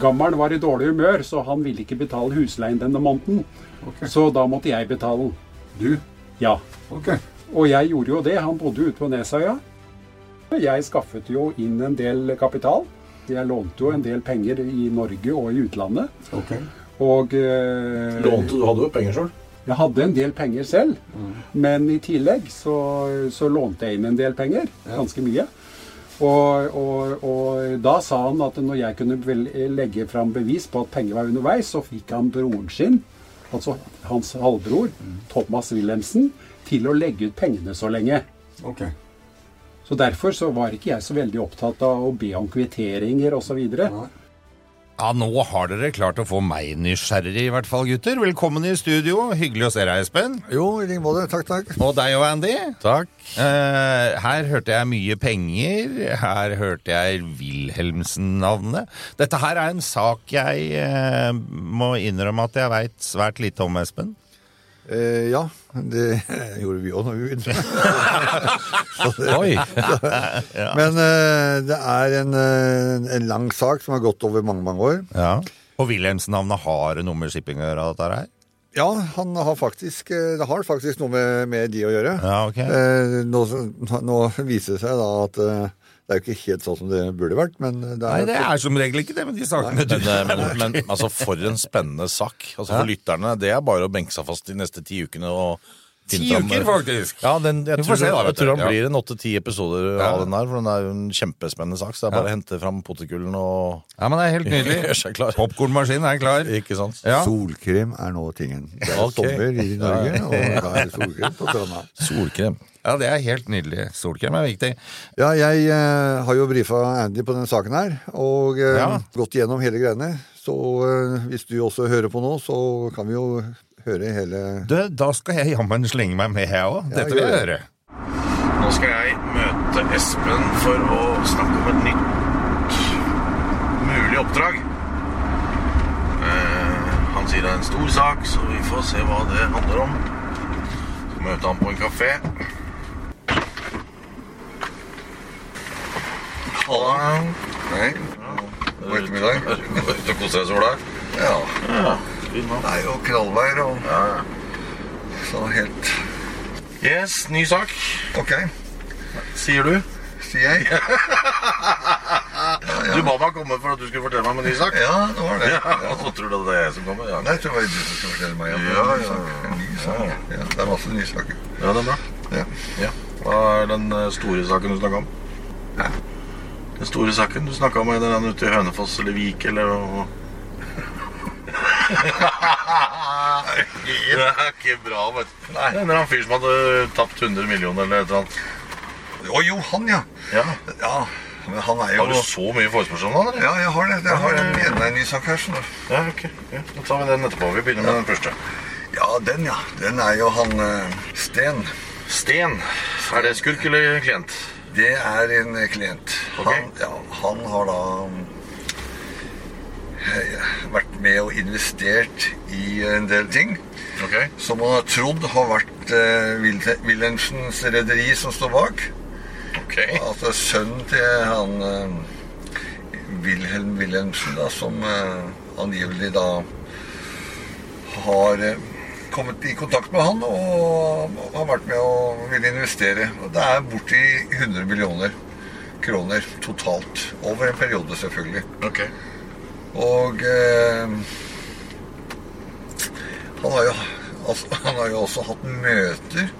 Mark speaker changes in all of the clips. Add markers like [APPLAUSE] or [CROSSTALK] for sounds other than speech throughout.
Speaker 1: Gammelen var i dårlig humør, så han ville ikke betale husleien denne måneden. Så da måtte jeg betale den.
Speaker 2: Du?
Speaker 1: Ja.
Speaker 2: Ok.
Speaker 1: Og jeg gjorde jo det. Han bodde ute på Nesøya. Jeg skaffet jo inn en del kapital. Jeg lånte jo en del penger i Norge og i utlandet.
Speaker 2: ok.
Speaker 1: Og eh,
Speaker 2: Lånte du hadde jo penger Mm. sjøl?
Speaker 1: jeg hadde en del penger selv, men i tillegg så, så lånte jeg inn en del penger. Ganske mye. Og, og, og da sa han at når jeg kunne vel- legge fram bevis på at penger var underveis, så fikk han broren sin, altså hans halvbror,
Speaker 2: Mm.
Speaker 1: Thomas Wilhelmsen, til å legge ut pengene så lenge.
Speaker 2: Ok.
Speaker 1: Så derfor så var ikke jeg så veldig opptatt av å be om kvitteringer osv.
Speaker 2: Nei.
Speaker 3: Ja, nå har dere klart å få meg nysgjerrig, i hvert fall, gutter. Velkommen i studio. Hyggelig å se deg, Espen.
Speaker 4: Jo, i like måte. Takk, takk.
Speaker 3: Og deg og Andy.
Speaker 4: Takk.
Speaker 3: Eh, her hørte jeg mye penger. Her hørte jeg Wilhelmsen-navnet. Dette her er en sak jeg eh, må innrømme at jeg veit svært lite om, Espen.
Speaker 4: Eh, ja, det [LAUGHS] gjorde vi òg når vi
Speaker 3: [LAUGHS]
Speaker 4: begynte.
Speaker 5: Oi!
Speaker 4: Men eh, det er en, eh, en lang sak som har gått over mange, mange år.
Speaker 3: Ja. Og Wilhelmsen-navnet har noe med shipping å gjøre, dette her?
Speaker 4: Ja, han har faktisk, eh, det har faktisk noe med, med de å gjøre.
Speaker 3: Ja, ok.
Speaker 4: Eh, nå, nå viser det seg da at eh, det er jo ikke helt sånn som det burde vært, men det er,
Speaker 3: Nei, det er som regel ikke det med de sakene du
Speaker 5: Men, eh,
Speaker 3: [LAUGHS]
Speaker 5: men, men altså, for en spennende sak. Altså, for lytterne, det er bare å benke seg fast de neste ti ukene. og
Speaker 3: Ti
Speaker 5: finne fram-
Speaker 3: uker, faktisk.
Speaker 5: Ja, den, jeg,
Speaker 3: Vi får
Speaker 5: tror,
Speaker 3: se da,
Speaker 5: jeg
Speaker 3: vet
Speaker 5: tror
Speaker 3: du.
Speaker 5: han
Speaker 3: Ja.
Speaker 5: blir en åtte-ti episoder av den her, for den er jo en kjempespennende sak. Så det er bare å hente fram potetgullen og
Speaker 3: Ja, men det er helt
Speaker 5: [LAUGHS] gjøre
Speaker 3: nydelig.
Speaker 5: seg klar.
Speaker 3: Popkornmaskinen er klar.
Speaker 5: Ikke sant?
Speaker 3: Ja.
Speaker 4: Solkrem er nå tingen. Det er
Speaker 5: Ok.
Speaker 4: sommer i Norge,
Speaker 3: [LAUGHS]
Speaker 4: og da er det solkrem på stranda.
Speaker 5: Solkrem.
Speaker 3: ja, det er helt nydelig. Solkrem er viktig.
Speaker 4: Ja, jeg eh, har jo brifa Andy på denne saken her, og eh,
Speaker 3: Ja.
Speaker 4: gått igjennom hele greiene. Så eh, hvis du også hører på nå, så kan vi jo høre hele
Speaker 3: Du, da skal jeg jammen slenge meg med, jeg òg. Dette
Speaker 4: gjør
Speaker 3: vil jeg
Speaker 4: det.
Speaker 3: høre.
Speaker 6: Nå skal jeg møte Espen for å snakke om et nytt mulig oppdrag. Eh, han sier det er en stor sak, så vi får se hva det handler om. Skal møte han på en kafé. Halla. Hei. God ettermiddag. Ute og kose deg, Sola? Ja. Det er jo knallvær og så helt Yes, ny sak. Ok. Sier du? Sier jeg. [LAUGHS] Du ba meg komme for at du skulle fortelle meg om en ny sak. [LAUGHS] Ja, det var det. Og så tror du det er jeg som kommer? Ja. Nei, jeg tror det var du som skulle fortelle meg om ja, en ny sak. En ny sak. Ja. det er masse nye saker. Ja, det er bra. Ja. Hva er den eh, store saken du snakka om? Den store saken du snakka om, er den der ute i Hønefoss eller Vik eller [LAUGHS] noe? Det er ikke bra, vet du. Nei. Det er en eller annen fyr som hadde tapt 100 millioner eller et eller annet.
Speaker 7: Å jo, han ja.
Speaker 6: Ja.
Speaker 7: ja. Men han er jo
Speaker 6: Har du så mye forespørsel om det? eller?
Speaker 7: Ja, jeg har det. Jeg har en, enda en ny sak her. Sånn.
Speaker 6: Ja, ok. Ja, da tar vi den etterpå. Vi begynner med den første.
Speaker 7: Ja, den ja. Den er jo han eh, Sten.
Speaker 6: Sten. Er det skurk eller klient?
Speaker 7: Det er en eh, klient.
Speaker 6: Ok.
Speaker 7: Han, ja, han har da mm, eh, vært med og investert i en del ting
Speaker 6: Ok.
Speaker 7: som han har trodd har vært eh, Wil- Wilhelmsens rederi som står bak.
Speaker 6: Ok.
Speaker 7: Altså sønnen til han eh, Wilhelm Wilhelmsen, da, som eh, angivelig da har eh, kommet i kontakt med han og har vært med og vil investere. Og det er borti 100 millioner kroner totalt. Over en periode, selvfølgelig.
Speaker 6: Ok.
Speaker 7: Og eh, han, har jo, altså, [LAUGHS] han har jo også hatt møter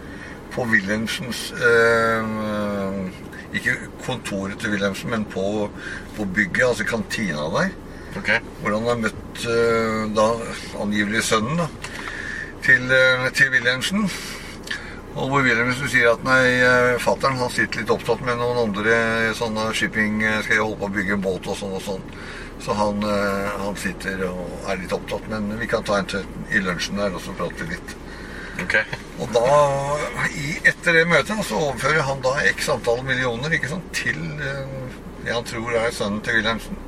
Speaker 7: på Wilhelmsens eh, Ikke kontoret til Wilhelmsen, men på, på bygget, altså kantina der.
Speaker 6: Ok.
Speaker 7: Hvor han har møtt eh, da angivelig sønnen da, til, eh, til Wilhelmsen. Og hvor Wilhelmsen sier at nei, fattern eh, sitter litt opptatt med noen andre sånne shipping eh, Skal jeg holde på å bygge en båt og sånn og sånn. Så han, eh, han sitter og er litt opptatt, men vi kan ta en til i lunsjen der og så prate litt.
Speaker 6: Ok.
Speaker 7: Og da, i, etter det møtet, så overfører han da x antall millioner ikke sant, til eh, det han tror er sønnen til Wilhelmsen.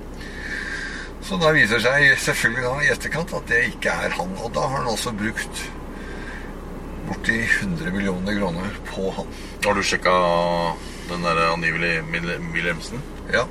Speaker 7: Så da viser det seg selvfølgelig da i etterkant at det ikke er han. Og da har han altså brukt borti 100 millioner kroner på han.
Speaker 6: Har du sjekka den der angivelig Mil- Wilhelmsen?
Speaker 7: Ja.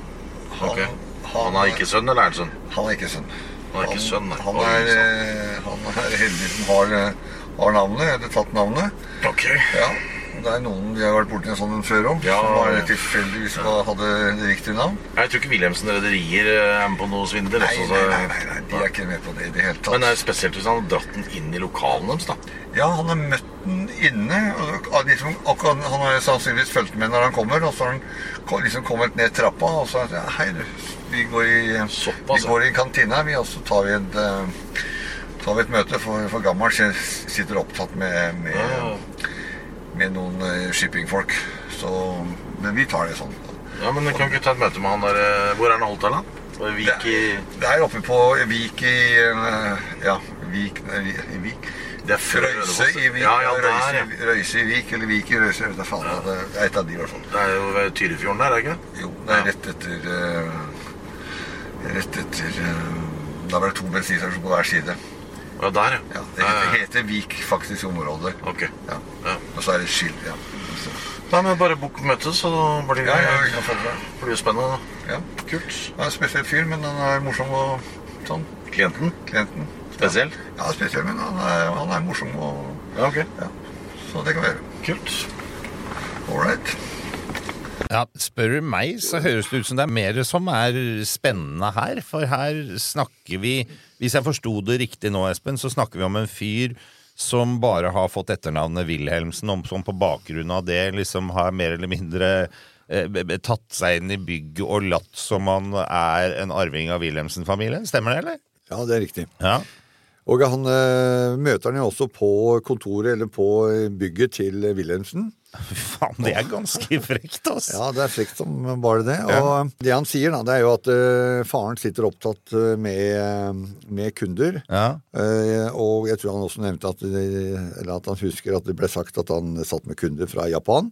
Speaker 7: Han,
Speaker 6: Ok. Han er ikke sønn, eller er han sønn?
Speaker 7: Han er ikke sønn.
Speaker 6: Han er ikke sønn, nei.
Speaker 7: han,
Speaker 6: Oi,
Speaker 7: er,
Speaker 6: sant.
Speaker 7: eh, han er heldig som har, eh, har navnet, eller tatt navnet.
Speaker 6: Ok.
Speaker 7: Ja, det er noen vi har vært borti en sånn en før om,
Speaker 6: Ja,
Speaker 7: som
Speaker 6: ja.
Speaker 7: bare tilfeldigvis var- hadde det riktige navn.
Speaker 6: Jeg tror ikke Wilhelmsen Rederier eh, er med på noe svindel.
Speaker 7: Nei,
Speaker 6: altså,
Speaker 7: nei,
Speaker 6: så-
Speaker 7: nei, nei, nei, de er ikke med på det i det hele tatt.
Speaker 6: Men det er spesielt hvis han hadde dratt den inn i lokalene deres, da.
Speaker 7: Ja, han har møtt den inne. og av de som, akkurat, han har sannsynligvis fulgt med når han kommer, og så har han ko- liksom kommet ned trappa og så har han sagt Hei, du, vi går i,
Speaker 6: Såpass,
Speaker 7: vi går i kantina, vi, og så tar vi et, eh, tar vi et møte, for, for gammel s- sitter opptatt med, med,
Speaker 6: Eh,
Speaker 7: med noen eh, shippingfolk. Så Men vi tar det sånn.
Speaker 6: Ja, men kan vi ikke ta et møte med han der eh, Hvor er han holdt til, da? Vik i
Speaker 7: Det er oppe på Vik i eh, Ja, Vik, nei, i Vik.
Speaker 6: Det er før
Speaker 7: Røyse i Vik,
Speaker 6: Ja, ja, der,
Speaker 7: Røyse,
Speaker 6: ja.
Speaker 7: i- Røyse i Vik, eller Vik i Røyse. Jeg vet da faen, det er et av de i hvert fall.
Speaker 6: Det er jo ved Tyrifjorden der, er det ikke? det?
Speaker 7: Jo, det er
Speaker 6: Ja.
Speaker 7: rett etter eh, Rett etter eh, Da var det to bensinstasjoner på hver side.
Speaker 6: Ja, der,
Speaker 7: Ja, det
Speaker 6: Ja,
Speaker 7: heter,
Speaker 6: ja, ja.
Speaker 7: heter Vik faktisk området.
Speaker 6: Ok.
Speaker 7: Ja.
Speaker 6: Ja.
Speaker 7: Og så er det et skilt. Ja. Så,
Speaker 6: Nei, men bare bok møte, så blir det
Speaker 7: ja, ja, vi kan få det.
Speaker 6: blir jo spennende.
Speaker 7: Ja.
Speaker 6: Kult.
Speaker 7: Han er en spesiell fyr, men han er morsom og sånn.
Speaker 6: Klienten?
Speaker 7: Klienten.
Speaker 6: Spesiell?
Speaker 7: Ja, spesiell, men han er, han er morsom og
Speaker 6: Ja, ok.
Speaker 7: Ja. Så det kan vi gjøre.
Speaker 6: Kult.
Speaker 7: All right.
Speaker 3: Ja, spør du meg, så høres det ut som det er mer som er spennende her. For her snakker vi, hvis jeg forsto det riktig nå, Espen, så snakker vi om en fyr som bare har fått etternavnet Wilhelmsen, om som på bakgrunn av det liksom har mer eller mindre eh, b- b- tatt seg inn i bygget og latt som han er en arving av Wilhelmsen-familien. Stemmer det, eller?
Speaker 8: Ja, det er riktig.
Speaker 3: Ja.
Speaker 8: Og han eh, møter han jo også på kontoret, eller på bygget til Wilhelmsen.
Speaker 3: Fy [LAUGHS] faen, det er ganske frekt, ass.
Speaker 8: Ja, det er frekt som bare det. Og det han sier, da, det er jo at eh, faren sitter opptatt eh, med, eh, med kunder.
Speaker 3: Ja.
Speaker 8: Eh, og jeg tror han også nevnte at, det- eller at han husker at det ble sagt at han satt med kunder fra Japan.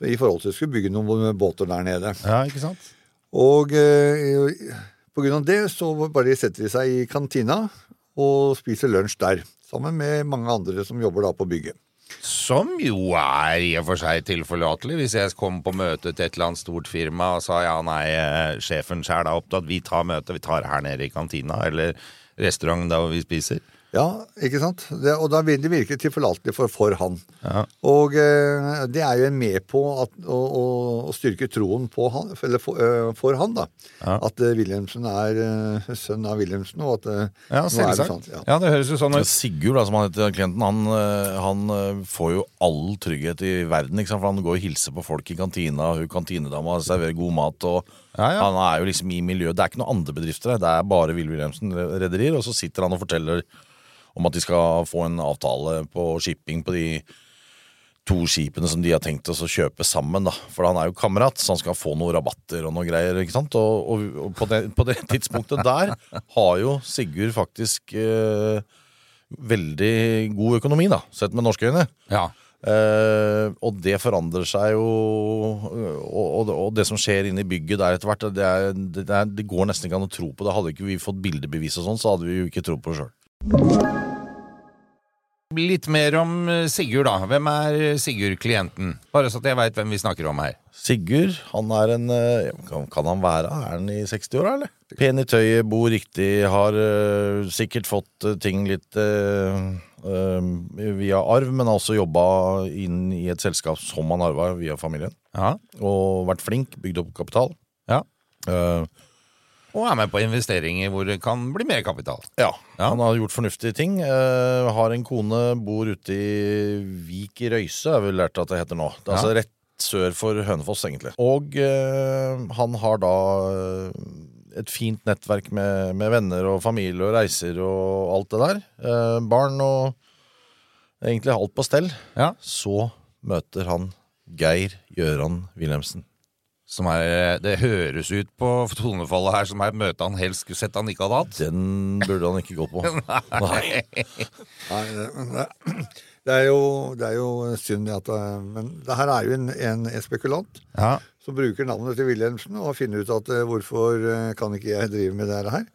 Speaker 8: Så i forhold til skulle bygge noen båter der nede.
Speaker 3: Ja, ikke sant?
Speaker 8: Og eh, på grunn av det så bare setter de seg i kantina og spiser lunsj der. Sammen med mange andre som jobber da på bygget.
Speaker 3: Som jo er i og for seg tilforlatelig. Hvis jeg kom på møte til et eller annet stort firma og sa ja, nei, eh, sjefen sjæl er opptatt, vi tar møtet, vi tar det her nede i kantina eller restauranten der hvor vi spiser.
Speaker 8: Ja, ikke sant? Det, og da vil det virke tilforlatelig for, for han.
Speaker 3: Ja.
Speaker 8: Og eh, det er jo med på at, å, å, å styrke troen på han, eller for, eh, for han, da. At eh, Wilhelmsen er eh, sønn av Wilhelmsen, og at eh,
Speaker 3: Ja,
Speaker 8: nå er det
Speaker 3: selvsagt.
Speaker 8: sånn. Ja.
Speaker 3: Ja, det høres jo sånn ut.
Speaker 5: Sigurd, da, som han heter, klienten, han, eh, han eh, får jo all trygghet i verden. Ikke sant? For han går og hilser på folk i kantina, og hun kantinedama serverer god mat. Og
Speaker 3: Ja, ja.
Speaker 5: Han er jo liksom i miljøet. Det er ikke noen andre bedrifter her, det er bare Will Wilhelmsen-rederier. Og så sitter han og forteller om at de skal få en avtale på shipping på de to skipene som de har tenkt oss å kjøpe sammen, da. For han er jo kamerat, så han skal få noen rabatter og noen greier, ikke sant. Og, og, og på, det, på det tidspunktet der har jo Sigurd faktisk eh, veldig god økonomi, da, sett med norske øyne.
Speaker 3: Ja.
Speaker 5: Eh, og det forandrer seg jo, og, og, og det som skjer inne i bygget der etter hvert, det, er, det, er, det går nesten ikke an å tro på det. Hadde ikke vi fått bildebevis og sånn, så hadde vi jo ikke trodd på det sjøl.
Speaker 3: Litt mer om eh, Sigurd, da. Hvem er eh, Sigurd-klienten? Bare så at jeg veit hvem vi snakker om her.
Speaker 5: Sigurd, han er en eh, kan, kan han være? Er han i 60-åra, eller? Pen i tøyet, bor riktig, har eh, sikkert fått eh, ting litt eh, eh, via arv, men har også jobba inn i et selskap som han arva via familien.
Speaker 3: Ja.
Speaker 5: Og vært flink, bygd opp kapital.
Speaker 3: Ja.
Speaker 5: Eh,
Speaker 3: Og er med på investeringer hvor det kan bli mer kapital.
Speaker 5: Ja,
Speaker 3: Ja.
Speaker 5: han har gjort fornuftige ting. eh, har en kone, bor ute i Vik i Røyse, har vi lært at det heter nå. Det er altså rett sør for Hønefoss, egentlig. Og eh, han har da eh, et fint nettverk med, med venner og familie og reiser og alt det der. Eh, barn og egentlig alt på stell.
Speaker 3: Ja.
Speaker 5: Så møter han Geir Gjøran Wilhelmsen,
Speaker 3: Som er, eh, det høres ut på tonefallet her som er et møte han helst skulle sett han ikke hadde hatt.
Speaker 5: Den burde han ikke gå
Speaker 3: [LAUGHS]
Speaker 5: på. Nei.
Speaker 8: Nei, det- men det, [CLEARS THROAT] det, er jo, det er jo synd det at det- Men det her er jo en, en, en spekulant
Speaker 3: Ja.
Speaker 8: som bruker navnet til Wilhelmsen og finner ut at eh, hvorfor eh, kan ikke jeg drive med det her?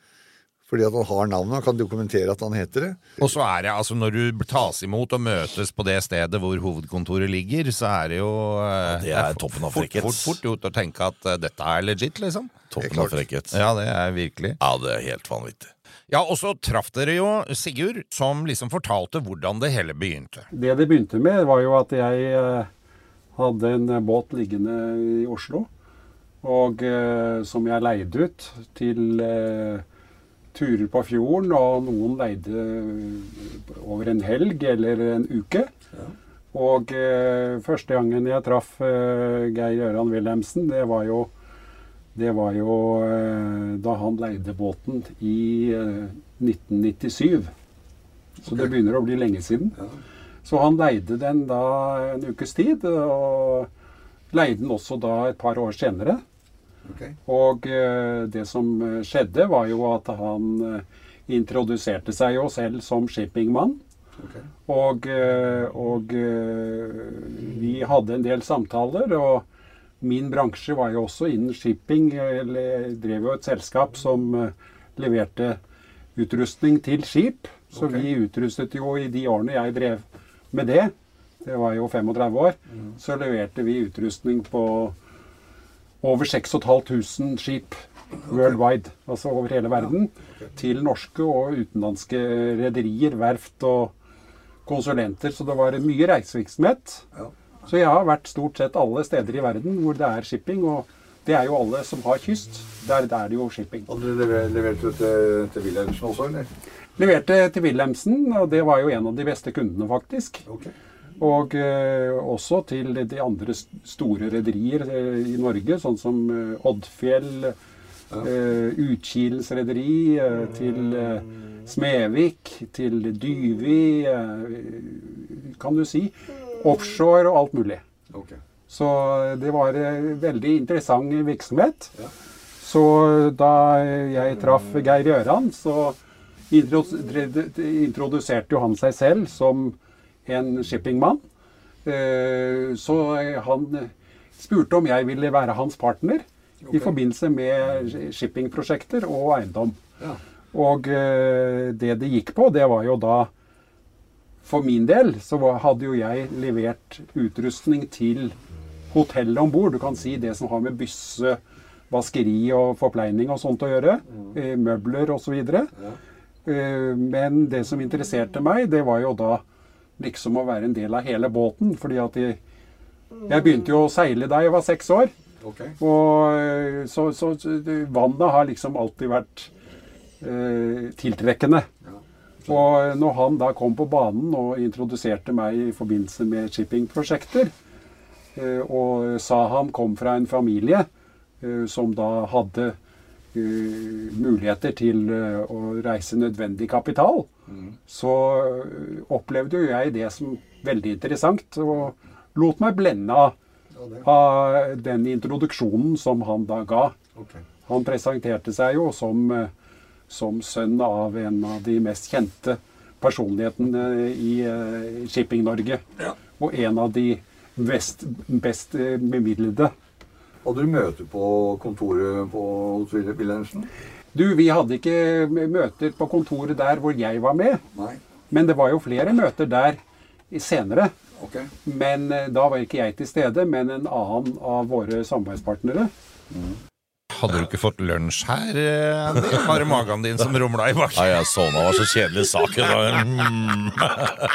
Speaker 8: Fordi at han har navnet og kan dokumentere at han heter det.
Speaker 3: Og så er det altså når du tas imot og møtes på det stedet hvor hovedkontoret ligger, så er det jo eh,
Speaker 5: det er toppen av
Speaker 3: fort,
Speaker 5: frekkhet.
Speaker 3: fort, fort gjort å tenke at eh, dette er legit, liksom.
Speaker 5: Toppen av frekkhet.
Speaker 3: Ja, det er virkelig.
Speaker 5: Ja, det er helt vanvittig.
Speaker 3: Ja, og så traff dere jo Sigurd, som liksom fortalte hvordan det hele begynte.
Speaker 1: Det det begynte med, var jo at jeg eh, hadde en båt liggende i Oslo. Og eh, som jeg leide ut til eh, turer på fjorden, og noen leide eh, over en helg eller en uke. Og eh, første gangen jeg traff eh, Geir Gøran Wilhelmsen, det var jo, det var jo eh, da han leide båten i eh, 1997. Så det begynner å bli lenge siden. Så han leide den da en ukes tid, og leide den også da et par år senere. Og eh, det som eh, skjedde, var jo at han eh, introduserte seg jo selv som shippingmann. Og, eh, og eh, vi hadde en del samtaler, og min bransje var jo også innen shipping. Eller drev jo et selskap som eh, leverte utrustning til skip. Så vi utrustet jo i de årene jeg drev med det, det var jo 35 år, så leverte vi utrustning på over 6500 skip worldwide, altså over hele verden, til norske og utenlandske rederier, verft og konsulenter. Så det var mye reisevirksomhet. Så jeg har vært stort sett alle steder i verden hvor det er shipping. og det er jo alle som har kyst. Der, der er det jo shipping.
Speaker 8: Hadde du levert det til, til Wilhelmsen også, eller?
Speaker 1: Leverte til Wilhelmsen, og det var jo en av de beste kundene, faktisk. Og eh, også til de andre s- store rederier eh, i Norge, sånn som eh, Oddfjell, eh, Utkilens rederi, eh, til eh, Smevik, til Dyvi eh, Kan du si. Offshore og alt mulig. Så det var eh, veldig interessant virksomhet. Så da jeg traff Geir Gjøran, så introdus- introduserte jo han seg selv som en shippingmann. Eh, Så han spurte om jeg ville være hans partner i forbindelse med shippingprosjekter og eiendom. Og eh, det det gikk på, det var jo da For min del så var- hadde jo jeg levert utrustning til hotellet om bord. Du kan si det som har med bysse, vaskeri og forpleining og sånt å gjøre. eh, Møbler osv. Eh, Men det som interesserte meg, det var jo da liksom å være en del av hele båten. Fordi at jeg, jeg begynte jo å seile da jeg var seks år. Og eh, så, så, så vannet har liksom alltid vært eh, tiltrekkende. Og når han da kom på banen og introduserte meg i forbindelse med shippingprosjekter, Eh, Og sa han kom fra en familie eh, som da hadde eh, muligheter til eh, å reise nødvendig kapital. Så eh, opplevde jo jeg det som veldig interessant, og lot meg blende av, av den introduksjonen som han da ga. Han presenterte seg jo som, eh, som sønn av en av de mest kjente personlighetene i eh, Shipping-Norge. Og en av de best, best eh, bemidlede.
Speaker 8: Hadde du møte på kontoret på hos Wil- Wilhelmsen?
Speaker 1: Du, vi hadde ikke møter på kontoret der hvor jeg var med,
Speaker 8: Nei.
Speaker 1: men det var jo flere møter der i- senere.
Speaker 8: Ok.
Speaker 1: Men eh, da var ikke jeg til stede, men en annen av våre samarbeidspartnere.
Speaker 3: Hadde du ikke fått lunsj her? eh, [LAUGHS] Andy? Var det magen din som rumla i
Speaker 5: Nei,
Speaker 3: bakken?
Speaker 5: jeg sovna. Det var så kjedelig sak. Det var, mm.
Speaker 8: [LAUGHS]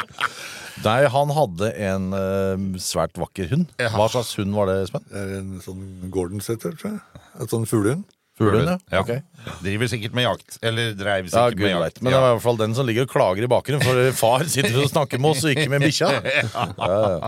Speaker 5: Nei, han hadde en eh, svært vakker hund. Hva slags hund var det, Espen?
Speaker 8: Det er en sånn Gordon-setter, tror jeg. En sånn fuglehund.
Speaker 5: Fuglehund,
Speaker 3: Ja.
Speaker 5: Ok.
Speaker 3: Driver sikkert med jakt. Eller dreiv
Speaker 5: Ja,
Speaker 3: sikkert
Speaker 5: gud
Speaker 3: med
Speaker 5: vet,
Speaker 3: jakt.
Speaker 5: Men det
Speaker 3: Ja.
Speaker 5: var i hvert fall den som ligger og klager i bakgrunnen, for
Speaker 3: [LAUGHS]
Speaker 8: [LAUGHS]
Speaker 5: far sitter og snakker med oss, og ikke med bikkja.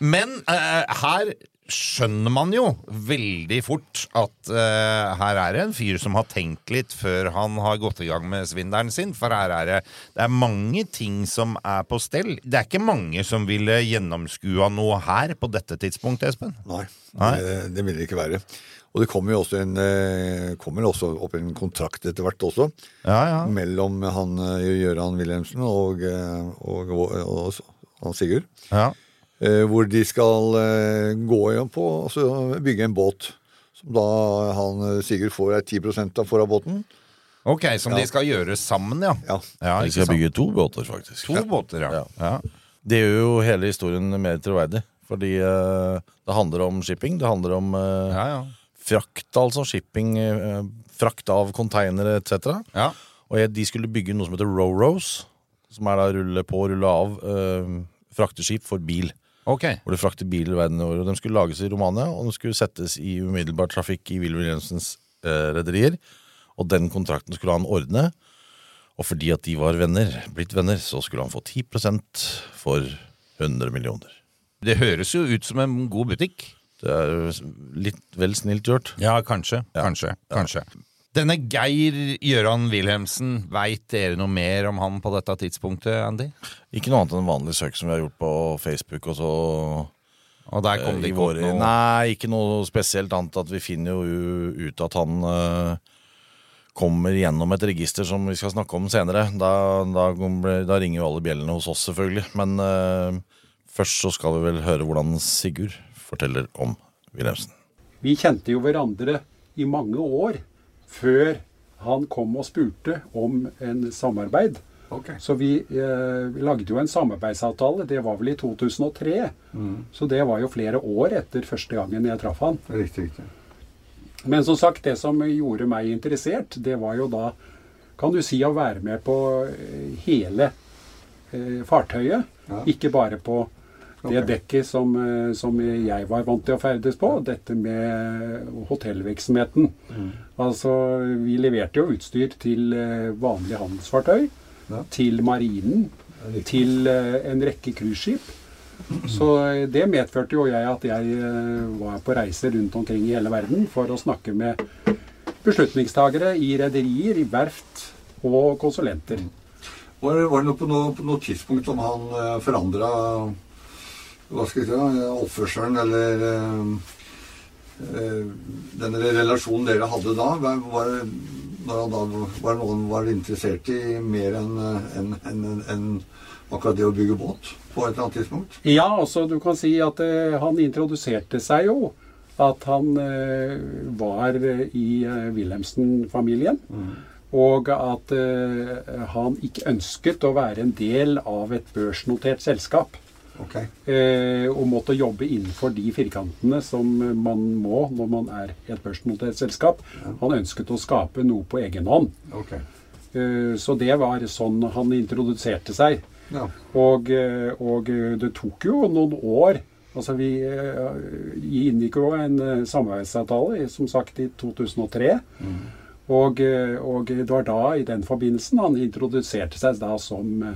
Speaker 3: Men eh, her skjønner man jo veldig fort at eh, her er det en fyr som har tenkt litt før han har gått i gang med svindelen sin, for her er det, det er mange ting som er på stell. Det er ikke mange som ville gjennomskua noe her på dette tidspunktet, Espen.
Speaker 8: Nei,
Speaker 3: Nei.
Speaker 8: Det, det vil det ikke være. Og det kommer jo også en, eh, kommer også opp en kontrakt etter hvert også,
Speaker 3: Ja, ja.
Speaker 8: mellom han eh, Gøran Wilhelmsen og, eh, og, og, og han Sigurd,
Speaker 3: ja.
Speaker 8: eh, hvor de skal eh, gå igjen på altså, bygge en båt. Som da han eh, Sigurd får eh, 10 av for av båten.
Speaker 3: Ok, som de skal gjøre sammen, ja.
Speaker 8: Ja.
Speaker 3: Ja,
Speaker 5: De
Speaker 3: ikke
Speaker 5: skal
Speaker 3: sant.
Speaker 5: bygge to båter, faktisk.
Speaker 3: To båter, ja.
Speaker 5: Ja.
Speaker 3: ja.
Speaker 5: Det gjør jo hele historien mer troverdig. Fordi eh, det handler om shipping. Det handler om eh,
Speaker 3: Ja, ja.
Speaker 5: frakt, altså. Shipping, eh, frakt av konteinere etc.
Speaker 3: ja.
Speaker 5: Og jeg, de skulle bygge noe som heter Ro-Ros. Som er da rulle på, rulle av eh, frakteskip for bil.
Speaker 3: Ok.
Speaker 5: Hvor de frakter biler verden over. Og de skulle lages i Romania, og de skulle settes i umiddelbar trafikk i Willy Wilhelmsens eh, rederier. Og den kontrakten skulle han ordne. Og fordi at de var venner, blitt venner, så skulle han få 10 for 100 millioner.
Speaker 3: Det høres jo ut som en god butikk.
Speaker 5: Det er jo litt vel snilt gjort.
Speaker 3: Ja, kanskje. Kanskje. kanskje. Denne Geir Gjøran Wilhelmsen, veit dere noe mer om han på dette tidspunktet, Andy?
Speaker 5: Ikke noe annet enn en vanlig søk som vi har gjort på Facebook. og så...
Speaker 3: Og der kom
Speaker 5: eh,
Speaker 3: det
Speaker 5: i
Speaker 3: ikke
Speaker 5: våre-
Speaker 3: opp noe
Speaker 5: Nei, ikke noe spesielt annet at vi finner jo u- ut at han eh, kommer gjennom et register som vi skal snakke om senere. Da, da, kommer- da ringer jo alle bjellene hos oss, selvfølgelig. Men eh, først så skal vi vel høre hvordan Sigurd forteller om Wilhelmsen.
Speaker 1: Vi kjente jo hverandre i mange år før han kom og spurte om en samarbeid. Så vi, eh, vi lagde jo en samarbeidsavtale. Det var vel i 2003.
Speaker 7: Mm.
Speaker 1: Så det var jo flere år etter første gangen jeg traff han.
Speaker 7: Riktig, riktig.
Speaker 1: Men som sagt, det som gjorde meg interessert, det var jo da, kan du si, å være med på eh, hele eh, fartøyet. Ikke bare på det dekket som, eh, som jeg var vant til å ferdes på, dette med hotellvirksomheten. Altså, vi leverte jo utstyr til eh, vanlige handelsfartøy, til marinen, til eh, en rekke cruiseskip. Så eh, det medførte jo jeg at jeg eh, var på reise rundt omkring i hele verden for å snakke med beslutningstagere i rederier, i verft og konsulenter.
Speaker 7: Var, det- var det noe på noe, på noe tidspunkt om han eh, forandra hva skal jeg si, da, oppførselen eller eh, eh, den relasjonen dere hadde da? Var, var, det- når han da var det noe han var interessert i mer enn eh, enn- enn- enn akkurat det å bygge båt på et eller annet tidspunkt?
Speaker 1: Ja, altså du kan si at eh, han introduserte seg jo. At han eh, var eh, i eh, Wilhelmsen-familien. Og at eh, han ikke ønsket å være en del av et børsnotert selskap.
Speaker 7: Ok.
Speaker 1: eh, og måtte jobbe innenfor de firkantene som man må når man er i et børsnotert selskap. Han ønsket å skape noe på egen hånd.
Speaker 7: ok.
Speaker 1: Eh, så det var sånn han introduserte seg.
Speaker 7: Ja.
Speaker 1: Og, eh, og eh, det tok jo noen år. Altså vi eh, vi inngikk jo en eh, samarbeidsavtale, i- som sagt, i 2003.
Speaker 7: Mm.
Speaker 1: Og, eh, og det var da, i den forbindelsen, han introduserte seg da som, eh,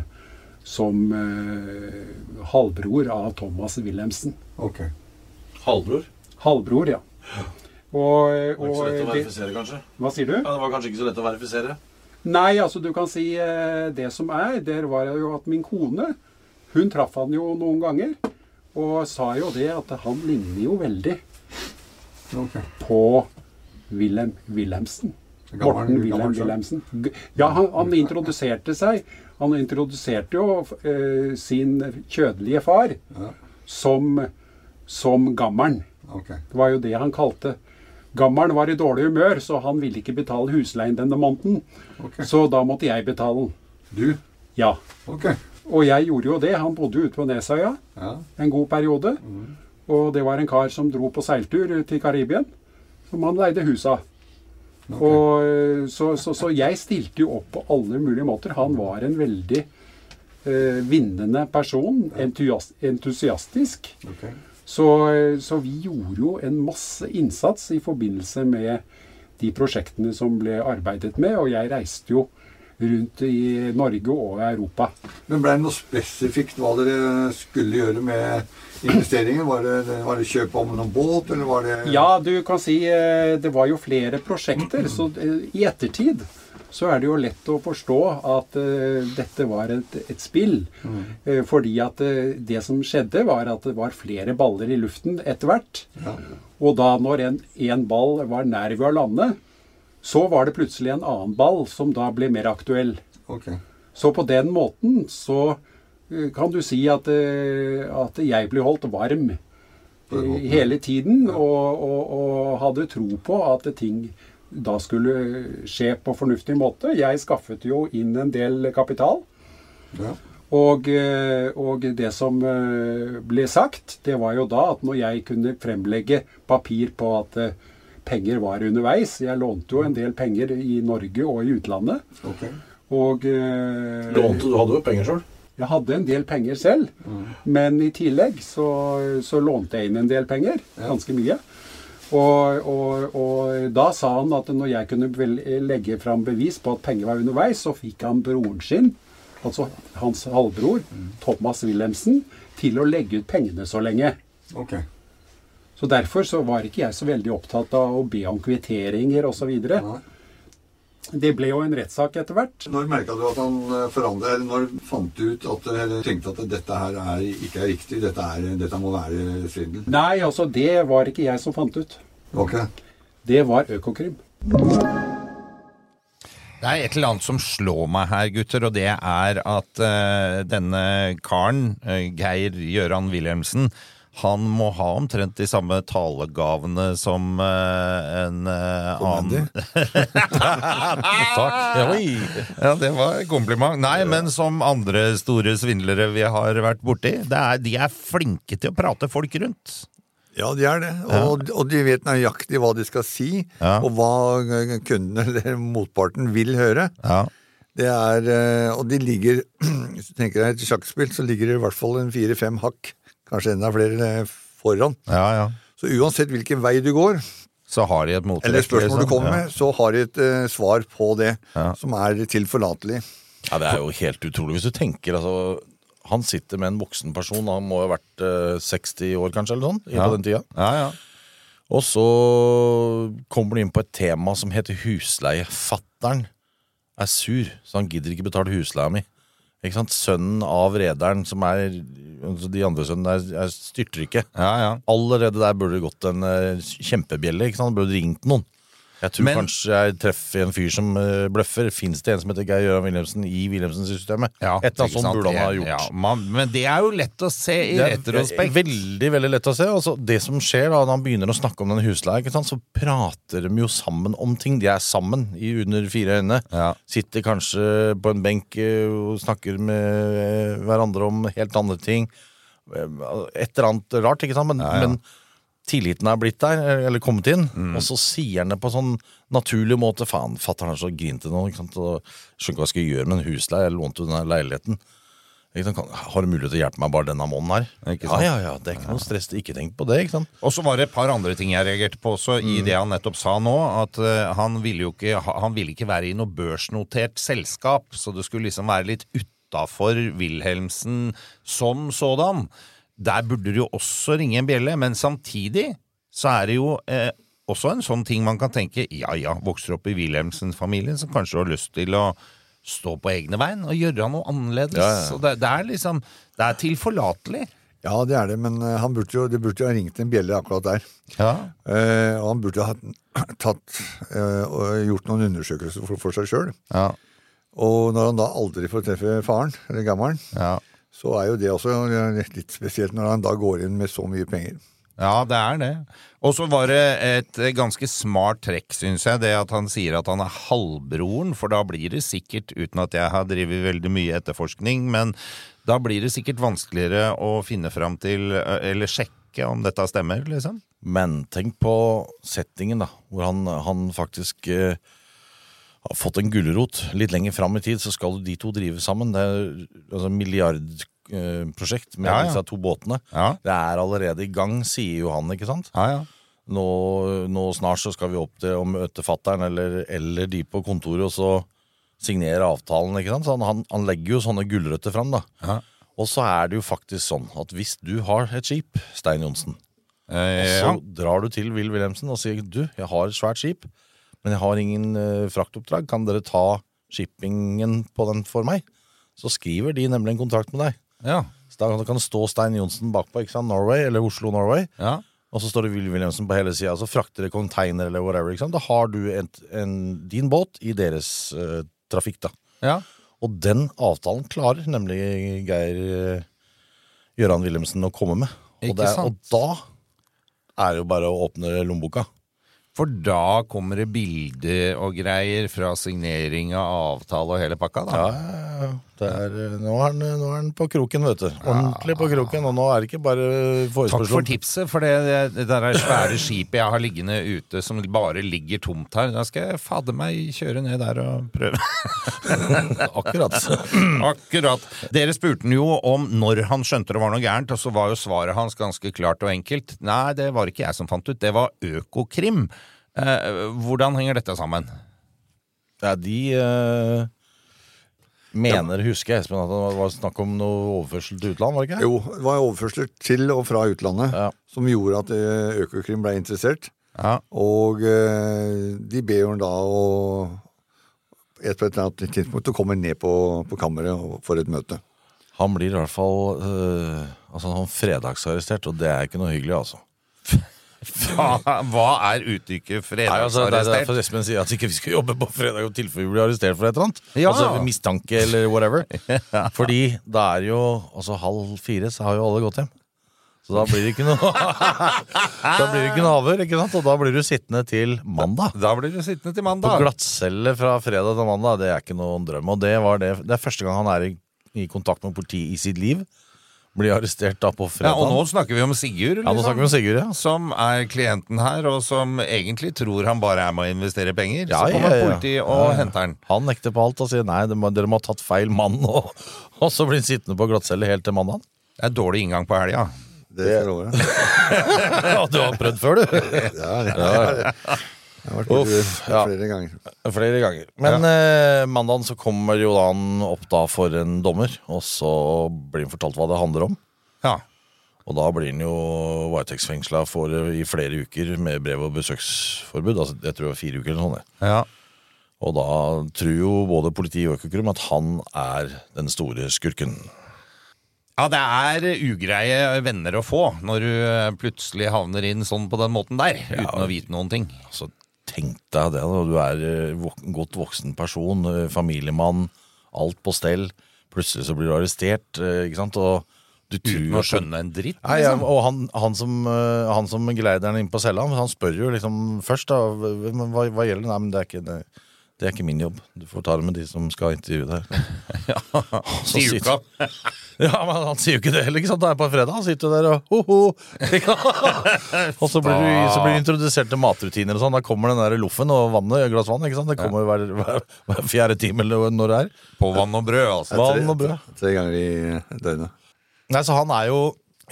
Speaker 1: som eh, halvbror av Thomas Wilhelmsen.
Speaker 7: ok.
Speaker 5: Halvbror?
Speaker 1: Halvbror, ja. Og, eh, og det,
Speaker 5: verifisere, kanskje?
Speaker 1: Hva sier du?
Speaker 5: det var kanskje ikke så lett å verifisere.
Speaker 1: Nei, altså du kan si eh, det som er. Der var det jo at min kone, hun traff han jo noen ganger. Og sa jo det at han ligner jo veldig
Speaker 7: ok.
Speaker 1: på Wilhelm Wilhelmsen.
Speaker 7: Gammel-
Speaker 1: Morten Wilhelm
Speaker 7: gammel sjøl.
Speaker 1: Wilhelmsen. G- Ja, han, han introduserte seg. Han introduserte jo eh, sin kjødelige far som, som gammelen.
Speaker 7: ok.
Speaker 1: Det var jo det han kalte. Gammelen var i dårlig humør, så han ville ikke betale husleien denne måneden.
Speaker 7: Ok.
Speaker 1: Så da måtte jeg betale den.
Speaker 7: Du?
Speaker 1: Ja.
Speaker 7: Ok.
Speaker 1: Og jeg gjorde jo det. Han bodde jo ute på Nesøya
Speaker 7: Ja. Mm.
Speaker 1: en god periode. Og det var en kar som dro på seiltur til Karibien, som han leide huset av. Og, eh, så, så, så jeg stilte jo opp på alle mulige måter. Han var en veldig eh, vinnende person. entusias- Entusiastisk.
Speaker 7: Ok.
Speaker 1: Så, så vi gjorde jo en masse innsats i forbindelse med de prosjektene som ble arbeidet med, og jeg reiste jo rundt i Norge og Europa
Speaker 7: Men ble det noe spesifikt hva dere skulle gjøre med investeringen? Var det, var det kjøp om noen båt, eller var det
Speaker 1: Ja, du kan si eh, det var jo flere prosjekter, så eh, i ettertid så er det jo lett å forstå at eh, dette var et, et spill. Eh, fordi at eh, det som skjedde, var at det var flere baller i luften etter hvert. Og da når en, en ball var nær ved å lande, så var det plutselig en annen ball som da ble mer aktuell.
Speaker 7: Ok.
Speaker 1: Så på den måten så eh, kan du si at, eh, at jeg ble holdt varm eh, hele tiden, og, og, og hadde tro på at ting da skulle skje på fornuftig måte. Jeg skaffet jo inn en del kapital.
Speaker 7: Ja.
Speaker 1: Og, eh, og det som eh, ble sagt, det var jo da at når jeg kunne fremlegge papir på at eh, penger var underveis Jeg lånte jo en del penger i Norge og i utlandet.
Speaker 7: Ok.
Speaker 1: Og eh,
Speaker 5: Lånte, du hadde jo penger sjøl.
Speaker 1: jeg hadde en del penger selv, men i tillegg så, så lånte jeg inn en del penger. Ganske mye. Og, og, og da sa han at når jeg kunne vel legge fram bevis på at penger var underveis, så fikk han broren sin, altså hans halvbror, Thomas Wilhelmsen, til å legge ut pengene så lenge.
Speaker 7: Ok.
Speaker 1: Så derfor så var ikke jeg så veldig opptatt av å be om kvitteringer osv.
Speaker 7: Nei.
Speaker 1: Det ble jo en rettssak etter hvert.
Speaker 7: Når merka du at han forandra Eller når fant du ut at eh, eller tenkte at dette her er, ikke er riktig? Dette, er, dette må være svindel?
Speaker 1: Nei, altså, det var ikke jeg som fant ut.
Speaker 7: Ok.
Speaker 1: Det var Økokrim.
Speaker 3: Det er et eller annet som slår meg her, gutter, og det er at eh, denne karen, eh, Geir Gjøran Wilhelmsen, han må ha omtrent de samme talegavene som eh, en eh, annen [LAUGHS] Takk. Ja, det var et kompliment. Nei, men som andre store svindlere vi har vært borti, det er, de er flinke til å prate folk rundt.
Speaker 7: Ja, de er det. Og, og de vet nøyaktig hva de skal si,
Speaker 3: Ja.
Speaker 7: og hva eh, kunden [LAUGHS] eller motparten vil høre.
Speaker 3: Ja.
Speaker 7: Det er, eh, og de ligger [CLEARS THROAT] Hvis du tenker deg et sjakkspill, så ligger det i hvert fall en fire-fem hakk, kanskje enda flere, eh, foran.
Speaker 3: ja, ja.
Speaker 7: Så uansett hvilken vei du går,
Speaker 3: Så har de et motrekk.
Speaker 7: eller spørsmål du
Speaker 3: liksom.
Speaker 7: kommer
Speaker 3: Ja.
Speaker 7: med, så har de et eh, svar på det, som er tilforlatelig.
Speaker 5: Ja, det er jo helt utrolig. Hvis du tenker, altså Han sitter med en voksen person, han må jo ha vært eh, 60 år kanskje, eller sånn, i- på den tida.
Speaker 3: Ja, ja.
Speaker 5: Og så kommer du inn på et tema som heter husleie. Fattern er sur, så han gidder ikke betale husleia mi. Ikke sant? Sønnen av rederen, som er altså De andre sønnene er, er styrtrike.
Speaker 3: ja, ja.
Speaker 5: Allerede der burde det gått en eh, kjempebjelle. Ikke sant? Han burde ringt noen. Jeg tror
Speaker 3: Men-
Speaker 5: kanskje jeg treffer en fyr som eh, bløffer. Fins det en som heter Geir Gøran Wilhelmsen i Wilhelmsen-systemet?
Speaker 3: Ja,
Speaker 5: Et eller
Speaker 3: ikke
Speaker 5: annet sånt
Speaker 3: sant?
Speaker 5: burde han ha
Speaker 3: Det-
Speaker 5: gjort.
Speaker 3: ja, man, men det er jo lett å se i
Speaker 5: Det er
Speaker 3: retrospekt.
Speaker 5: Veldig, veldig lett å se. Altså, det som skjer da, når han begynner å snakke om den husleia, ikke sant, så prater de jo sammen om ting. De er sammen i under fire øyne.
Speaker 3: Ja.
Speaker 5: Sitter kanskje på en benk eh, og snakker med eh, hverandre om helt andre ting. Eh, Et eller annet rart, ikke sant? Men, men tilliten er blitt der, eh, eller kommet inn. Og så sier han det på sånn naturlig måte. Faen, fatter'n er så grinte nå. Ikke sant? Og, skjønner ikke hva jeg skal gjøre med en husleie. Jeg lånte jo denne leiligheten. Ikke sant? Kan- Har du mulighet til å hjelpe meg bare denne måneden her?
Speaker 3: Ikke
Speaker 5: Ja,
Speaker 3: sant?
Speaker 5: ja, ja, det er ikke noe stress. Ikke tenk på det, ikke sant?
Speaker 3: Og så var det et par andre ting jeg reagerte på også i det han nettopp sa nå. At eh, han ville jo ikke, ha- han ville ikke være i noe børsnotert selskap, så det skulle liksom være litt utafor Wilhelmsen som sådan. Der burde det jo også ringe en bjelle, men samtidig så er det jo eh, også en sånn ting man kan tenke Ja ja, vokser opp i Wilhelmsen-familien som kanskje har lyst til å stå på egne bein og gjøre noe annerledes. Så det, det er liksom Det er tilforlatelig.
Speaker 7: Ja, det er det, men eh, han burde jo, det burde jo ha ringt en bjelle akkurat der.
Speaker 3: Ja.
Speaker 7: Eh, og han burde ha [CLEARS THROAT] tatt, eh, og gjort noen undersøkelser for, for seg sjøl.
Speaker 3: Ja.
Speaker 7: Og når han da aldri får treffe faren, eller gammelen,
Speaker 3: Ja.
Speaker 7: så er jo det også litt spesielt når han da går inn med så mye penger.
Speaker 3: Ja, det er det. Og så var det et ganske smart trekk, syns jeg, det at han sier at han er halvbroren, for da blir det sikkert, uten at jeg har drevet veldig mye etterforskning, men da blir det sikkert vanskeligere å finne fram til, eh, eller sjekke om dette stemmer, liksom.
Speaker 5: Men tenk på settingen, da. Hvor han, han faktisk eh, har fått en gulrot. Litt lenger fram i tid så skal de to drive sammen. Det er altså milliardprosjekt med
Speaker 3: Ja, ja.
Speaker 5: disse to båtene.
Speaker 3: Ja.
Speaker 5: Det er allerede i gang, sier jo han, ikke sant?
Speaker 3: Ja, ja.
Speaker 5: nå, nå snart så skal vi opp til å møte fatteren eller, eller de på kontoret, og så signere avtalen. Ikke sant? Så han, han, han legger jo sånne gulrøtter fram. Da. Og så er det jo faktisk sånn at hvis du har et skip, Stein Johnsen,
Speaker 3: Eh,
Speaker 5: og så drar du til Will Wilhelmsen og sier du, jeg har et svært skip, men jeg har ingen eh, fraktoppdrag. Kan dere ta shippingen på den for meg? Så skriver de nemlig en kontrakt med deg.
Speaker 3: Ja.
Speaker 5: Så da kan det stå Stein Johnsen bakpå, ikke sant? Norway, eller Oslo Norway.
Speaker 3: Ja.
Speaker 5: Og så står det Will Wilhelmsen på hele sida, og så frakter det container eller whatever. ikke sant? Da har du et, en, din båt i deres eh, trafikk, da.
Speaker 3: Ja.
Speaker 5: Og den avtalen klarer nemlig Geir eh, Gøran Wilhelmsen å komme med. Og,
Speaker 3: Ikke
Speaker 5: det, er-
Speaker 3: sant?
Speaker 5: og da er det jo bare å åpne lommeboka.
Speaker 3: For da kommer det bilder og greier fra signering av avtale og hele pakka, da.
Speaker 5: Ja, ja, ja. det er, eh, nå, er han, nå er han på kroken, vet du. Ordentlig på kroken. Og nå er det ikke bare
Speaker 3: Takk
Speaker 5: forespørsel
Speaker 3: for
Speaker 5: om
Speaker 3: tipset, for det, det der er svære skipet jeg har liggende ute som bare ligger tomt her. Da skal jeg fader meg kjøre ned der og
Speaker 5: [CLEARS THROAT]
Speaker 3: prøve.
Speaker 5: akkurat.
Speaker 3: [LAUGHS] Akkurat. Dere spurte han jo om når han skjønte det var noe gærent, og så var jo svaret hans ganske klart og enkelt. Nei, det var ikke jeg som fant ut, det var Økokrim. Eh, hvordan henger dette sammen?
Speaker 5: Ja, de eh, mener, husker jeg, Espen, at det var snakk om noe overførsel til utlandet, var det ikke?
Speaker 8: Jo, det var overførsler til og fra utlandet
Speaker 5: Ja.
Speaker 8: som gjorde at eh, Økokrim ble interessert.
Speaker 3: Ja.
Speaker 8: Og eh, de ber jo da å et på et eller annet tidspunkt å komme ned på, på kammeret og- for et møte.
Speaker 5: Han blir i hvert fall eh, altså, han fredagsarrestert, og det er ikke noe hyggelig, altså.
Speaker 3: Hva, hva er uttrykket
Speaker 5: Nei, altså, det er
Speaker 3: fredagsarrestert?
Speaker 5: derfor Espen sier at ikke vi skal jobbe på fredag i tilfelle vi blir arrestert for et eller annet.
Speaker 3: Ja.
Speaker 5: Altså mistanke eller whatever.
Speaker 3: [LAUGHS]
Speaker 5: Fordi da er jo altså halv fire, så har jo alle gått hjem. Så da blir det ikke noe [LAUGHS] Da blir det ikke noe avhør, ikke sant? Og da blir du sittende til mandag.
Speaker 3: Da blir du sittende til
Speaker 5: På
Speaker 3: mandag.
Speaker 5: glattcelle fra fredag til mandag, det er ikke noen drøm. Og det, var det. det er første gang han er i, i kontakt med politiet i sitt liv. Blir arrestert da på
Speaker 3: Ja,
Speaker 5: fredag.
Speaker 3: og nå snakker vi om Sigurd, liksom.
Speaker 5: ja, nå snakker vi om Sigurd, ja.
Speaker 3: som er klienten her, og som egentlig tror han bare er med å investere penger.
Speaker 5: Ja,
Speaker 3: så kommer
Speaker 5: ja, ja.
Speaker 3: politiet og
Speaker 5: Ja, ja.
Speaker 3: henter han.
Speaker 5: Han nekter på alt og sier nei, dere må, dere må ha tatt feil mann. Og, [LAUGHS] og så blir han sittende på glattcelle helt til mandag.
Speaker 3: Det er dårlig inngang på helga.
Speaker 8: Det skal jeg love deg.
Speaker 5: [LAUGHS] Ja, du har prøvd før, du.
Speaker 8: [LAUGHS] Ja, ja, ja. Jeg har vært borti det
Speaker 5: Uff, ja.
Speaker 8: flere ganger.
Speaker 5: Flere ganger. Men eh, mandagen så kommer jo da han opp da for en dommer, og så blir han fortalt hva det handler om.
Speaker 3: Ja.
Speaker 5: Og da blir han jo varetektsfengsla for, eh, i flere uker med brev- og besøksforbud. Altså, jeg tror det var fire uker eller noe sånt. det.
Speaker 3: Ja.
Speaker 5: Og da tror jo både politi og Økokrim at han er den store skurken.
Speaker 3: ja, det er ugreie venner å få når du eh, plutselig havner inn sånn på den måten der, uten å vite noen ting.
Speaker 5: Så tenk deg det, da. Du er eh, vok godt voksen person, eh, familiemann, alt på stell. Plutselig så blir du arrestert, eh, ikke sant? Og du tror
Speaker 3: Uten å skjønne en dritt.
Speaker 5: Nei, ja, og han, han, som, eh, han som geleideren inn på cella, han spør jo liksom først da, hva, hva- hva gjelder det? Nei, men det er, ikke, det, det er ikke min jobb. Du får ta det med de som skal intervjue deg.
Speaker 3: [LAUGHS]
Speaker 5: Så
Speaker 3: Sier du
Speaker 5: sitter- Ja, men han sier jo ikke det heller, ikke sant? Det er på en fredag, han sitter jo der og ho-ho. og så blir, du, så blir du introdusert til matrutiner og sånn. Da kommer den der loffen og vannet, et glass vann, ikke sant? Det kommer hver, hver, hver fjerde time eller når det er.
Speaker 3: På vann og brød, altså.
Speaker 5: Vann og brød.
Speaker 8: Tre ganger i eh, døgnet.
Speaker 5: Nei, så han er jo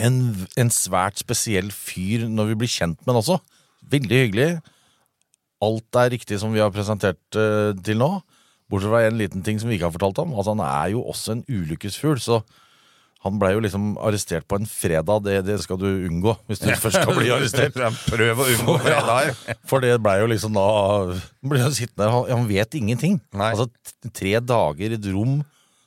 Speaker 5: en, en svært spesiell fyr når vi blir kjent med han også. Veldig hyggelig. Alt er riktig som vi har presentert eh, til nå. Bortsett fra en liten ting som vi ikke har fortalt om. Altså, han er jo også en ulykkesfugl, så han blei jo liksom arrestert på en fredag. Det, det skal du unngå hvis du først skal bli
Speaker 8: [LAUGHS]
Speaker 5: arrestert.
Speaker 3: Prøv å unngå fredager.
Speaker 5: For det blei jo liksom da Han ble jo sittende der, han, han vet ingenting.
Speaker 3: Nei.
Speaker 5: Altså t- tre dager i et rom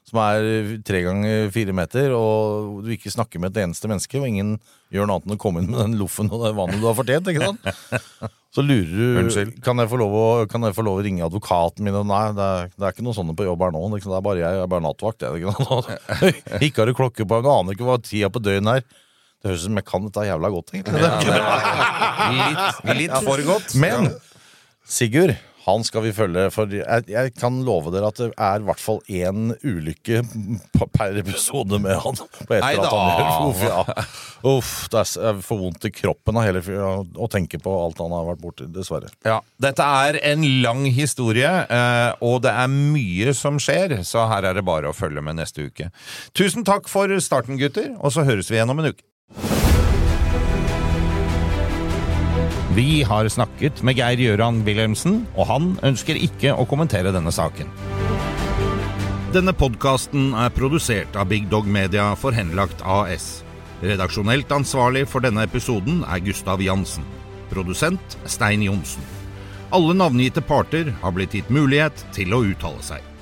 Speaker 5: som er tre ganger fire meter, og du ikke snakker med et eneste menneske, og ingen gjør noe annet enn å komme inn med den loffen og det vannet du har fortjent, ikke sant?
Speaker 3: [LAUGHS]
Speaker 5: Så lurer du
Speaker 3: Unnskyld.
Speaker 5: Kan jeg få lov å, kan jeg få lov å ringe advokaten min? Og nei, det er, det er ikke noen sånne på jobb her nå. Liksom. Det er bare jeg, jeg er bare nattvakt. Jeg, ikke,
Speaker 3: [LAUGHS]
Speaker 5: sant? ikke har du klokke på, jeg aner ikke hva tida på døgnet er. Det høres ut som jeg kan dette jævla godt, egentlig. Det er ikke-
Speaker 3: Litt, litt for godt.
Speaker 5: men Sigurd, han skal vi følge. For jeg, jeg kan love dere at det er i hvert fall én ulykke p- per episode med han. På et
Speaker 3: Nei
Speaker 5: eller annet
Speaker 3: da.
Speaker 5: [LAUGHS] han gjør. Uff, ja. Uff, det er s- jeg får vondt i kroppen av hele fyr- å- å tenke på alt han har vært borti, dessverre.
Speaker 3: Ja, dette er en lang historie, eh, og det er mye som skjer, så her er det bare å følge med neste uke. Tusen takk for starten, gutter, og så høres vi igjen om en uke. Vi har snakket med Geir Gjøran Wilhelmsen, og han ønsker ikke å kommentere denne saken. Denne podkasten er produsert av Big Dog Media for Henlagt AS. Redaksjonelt ansvarlig for denne episoden er Gustav Jansen. Produsent er Stein Johnsen. Alle navngitte parter har blitt gitt mulighet til å uttale seg.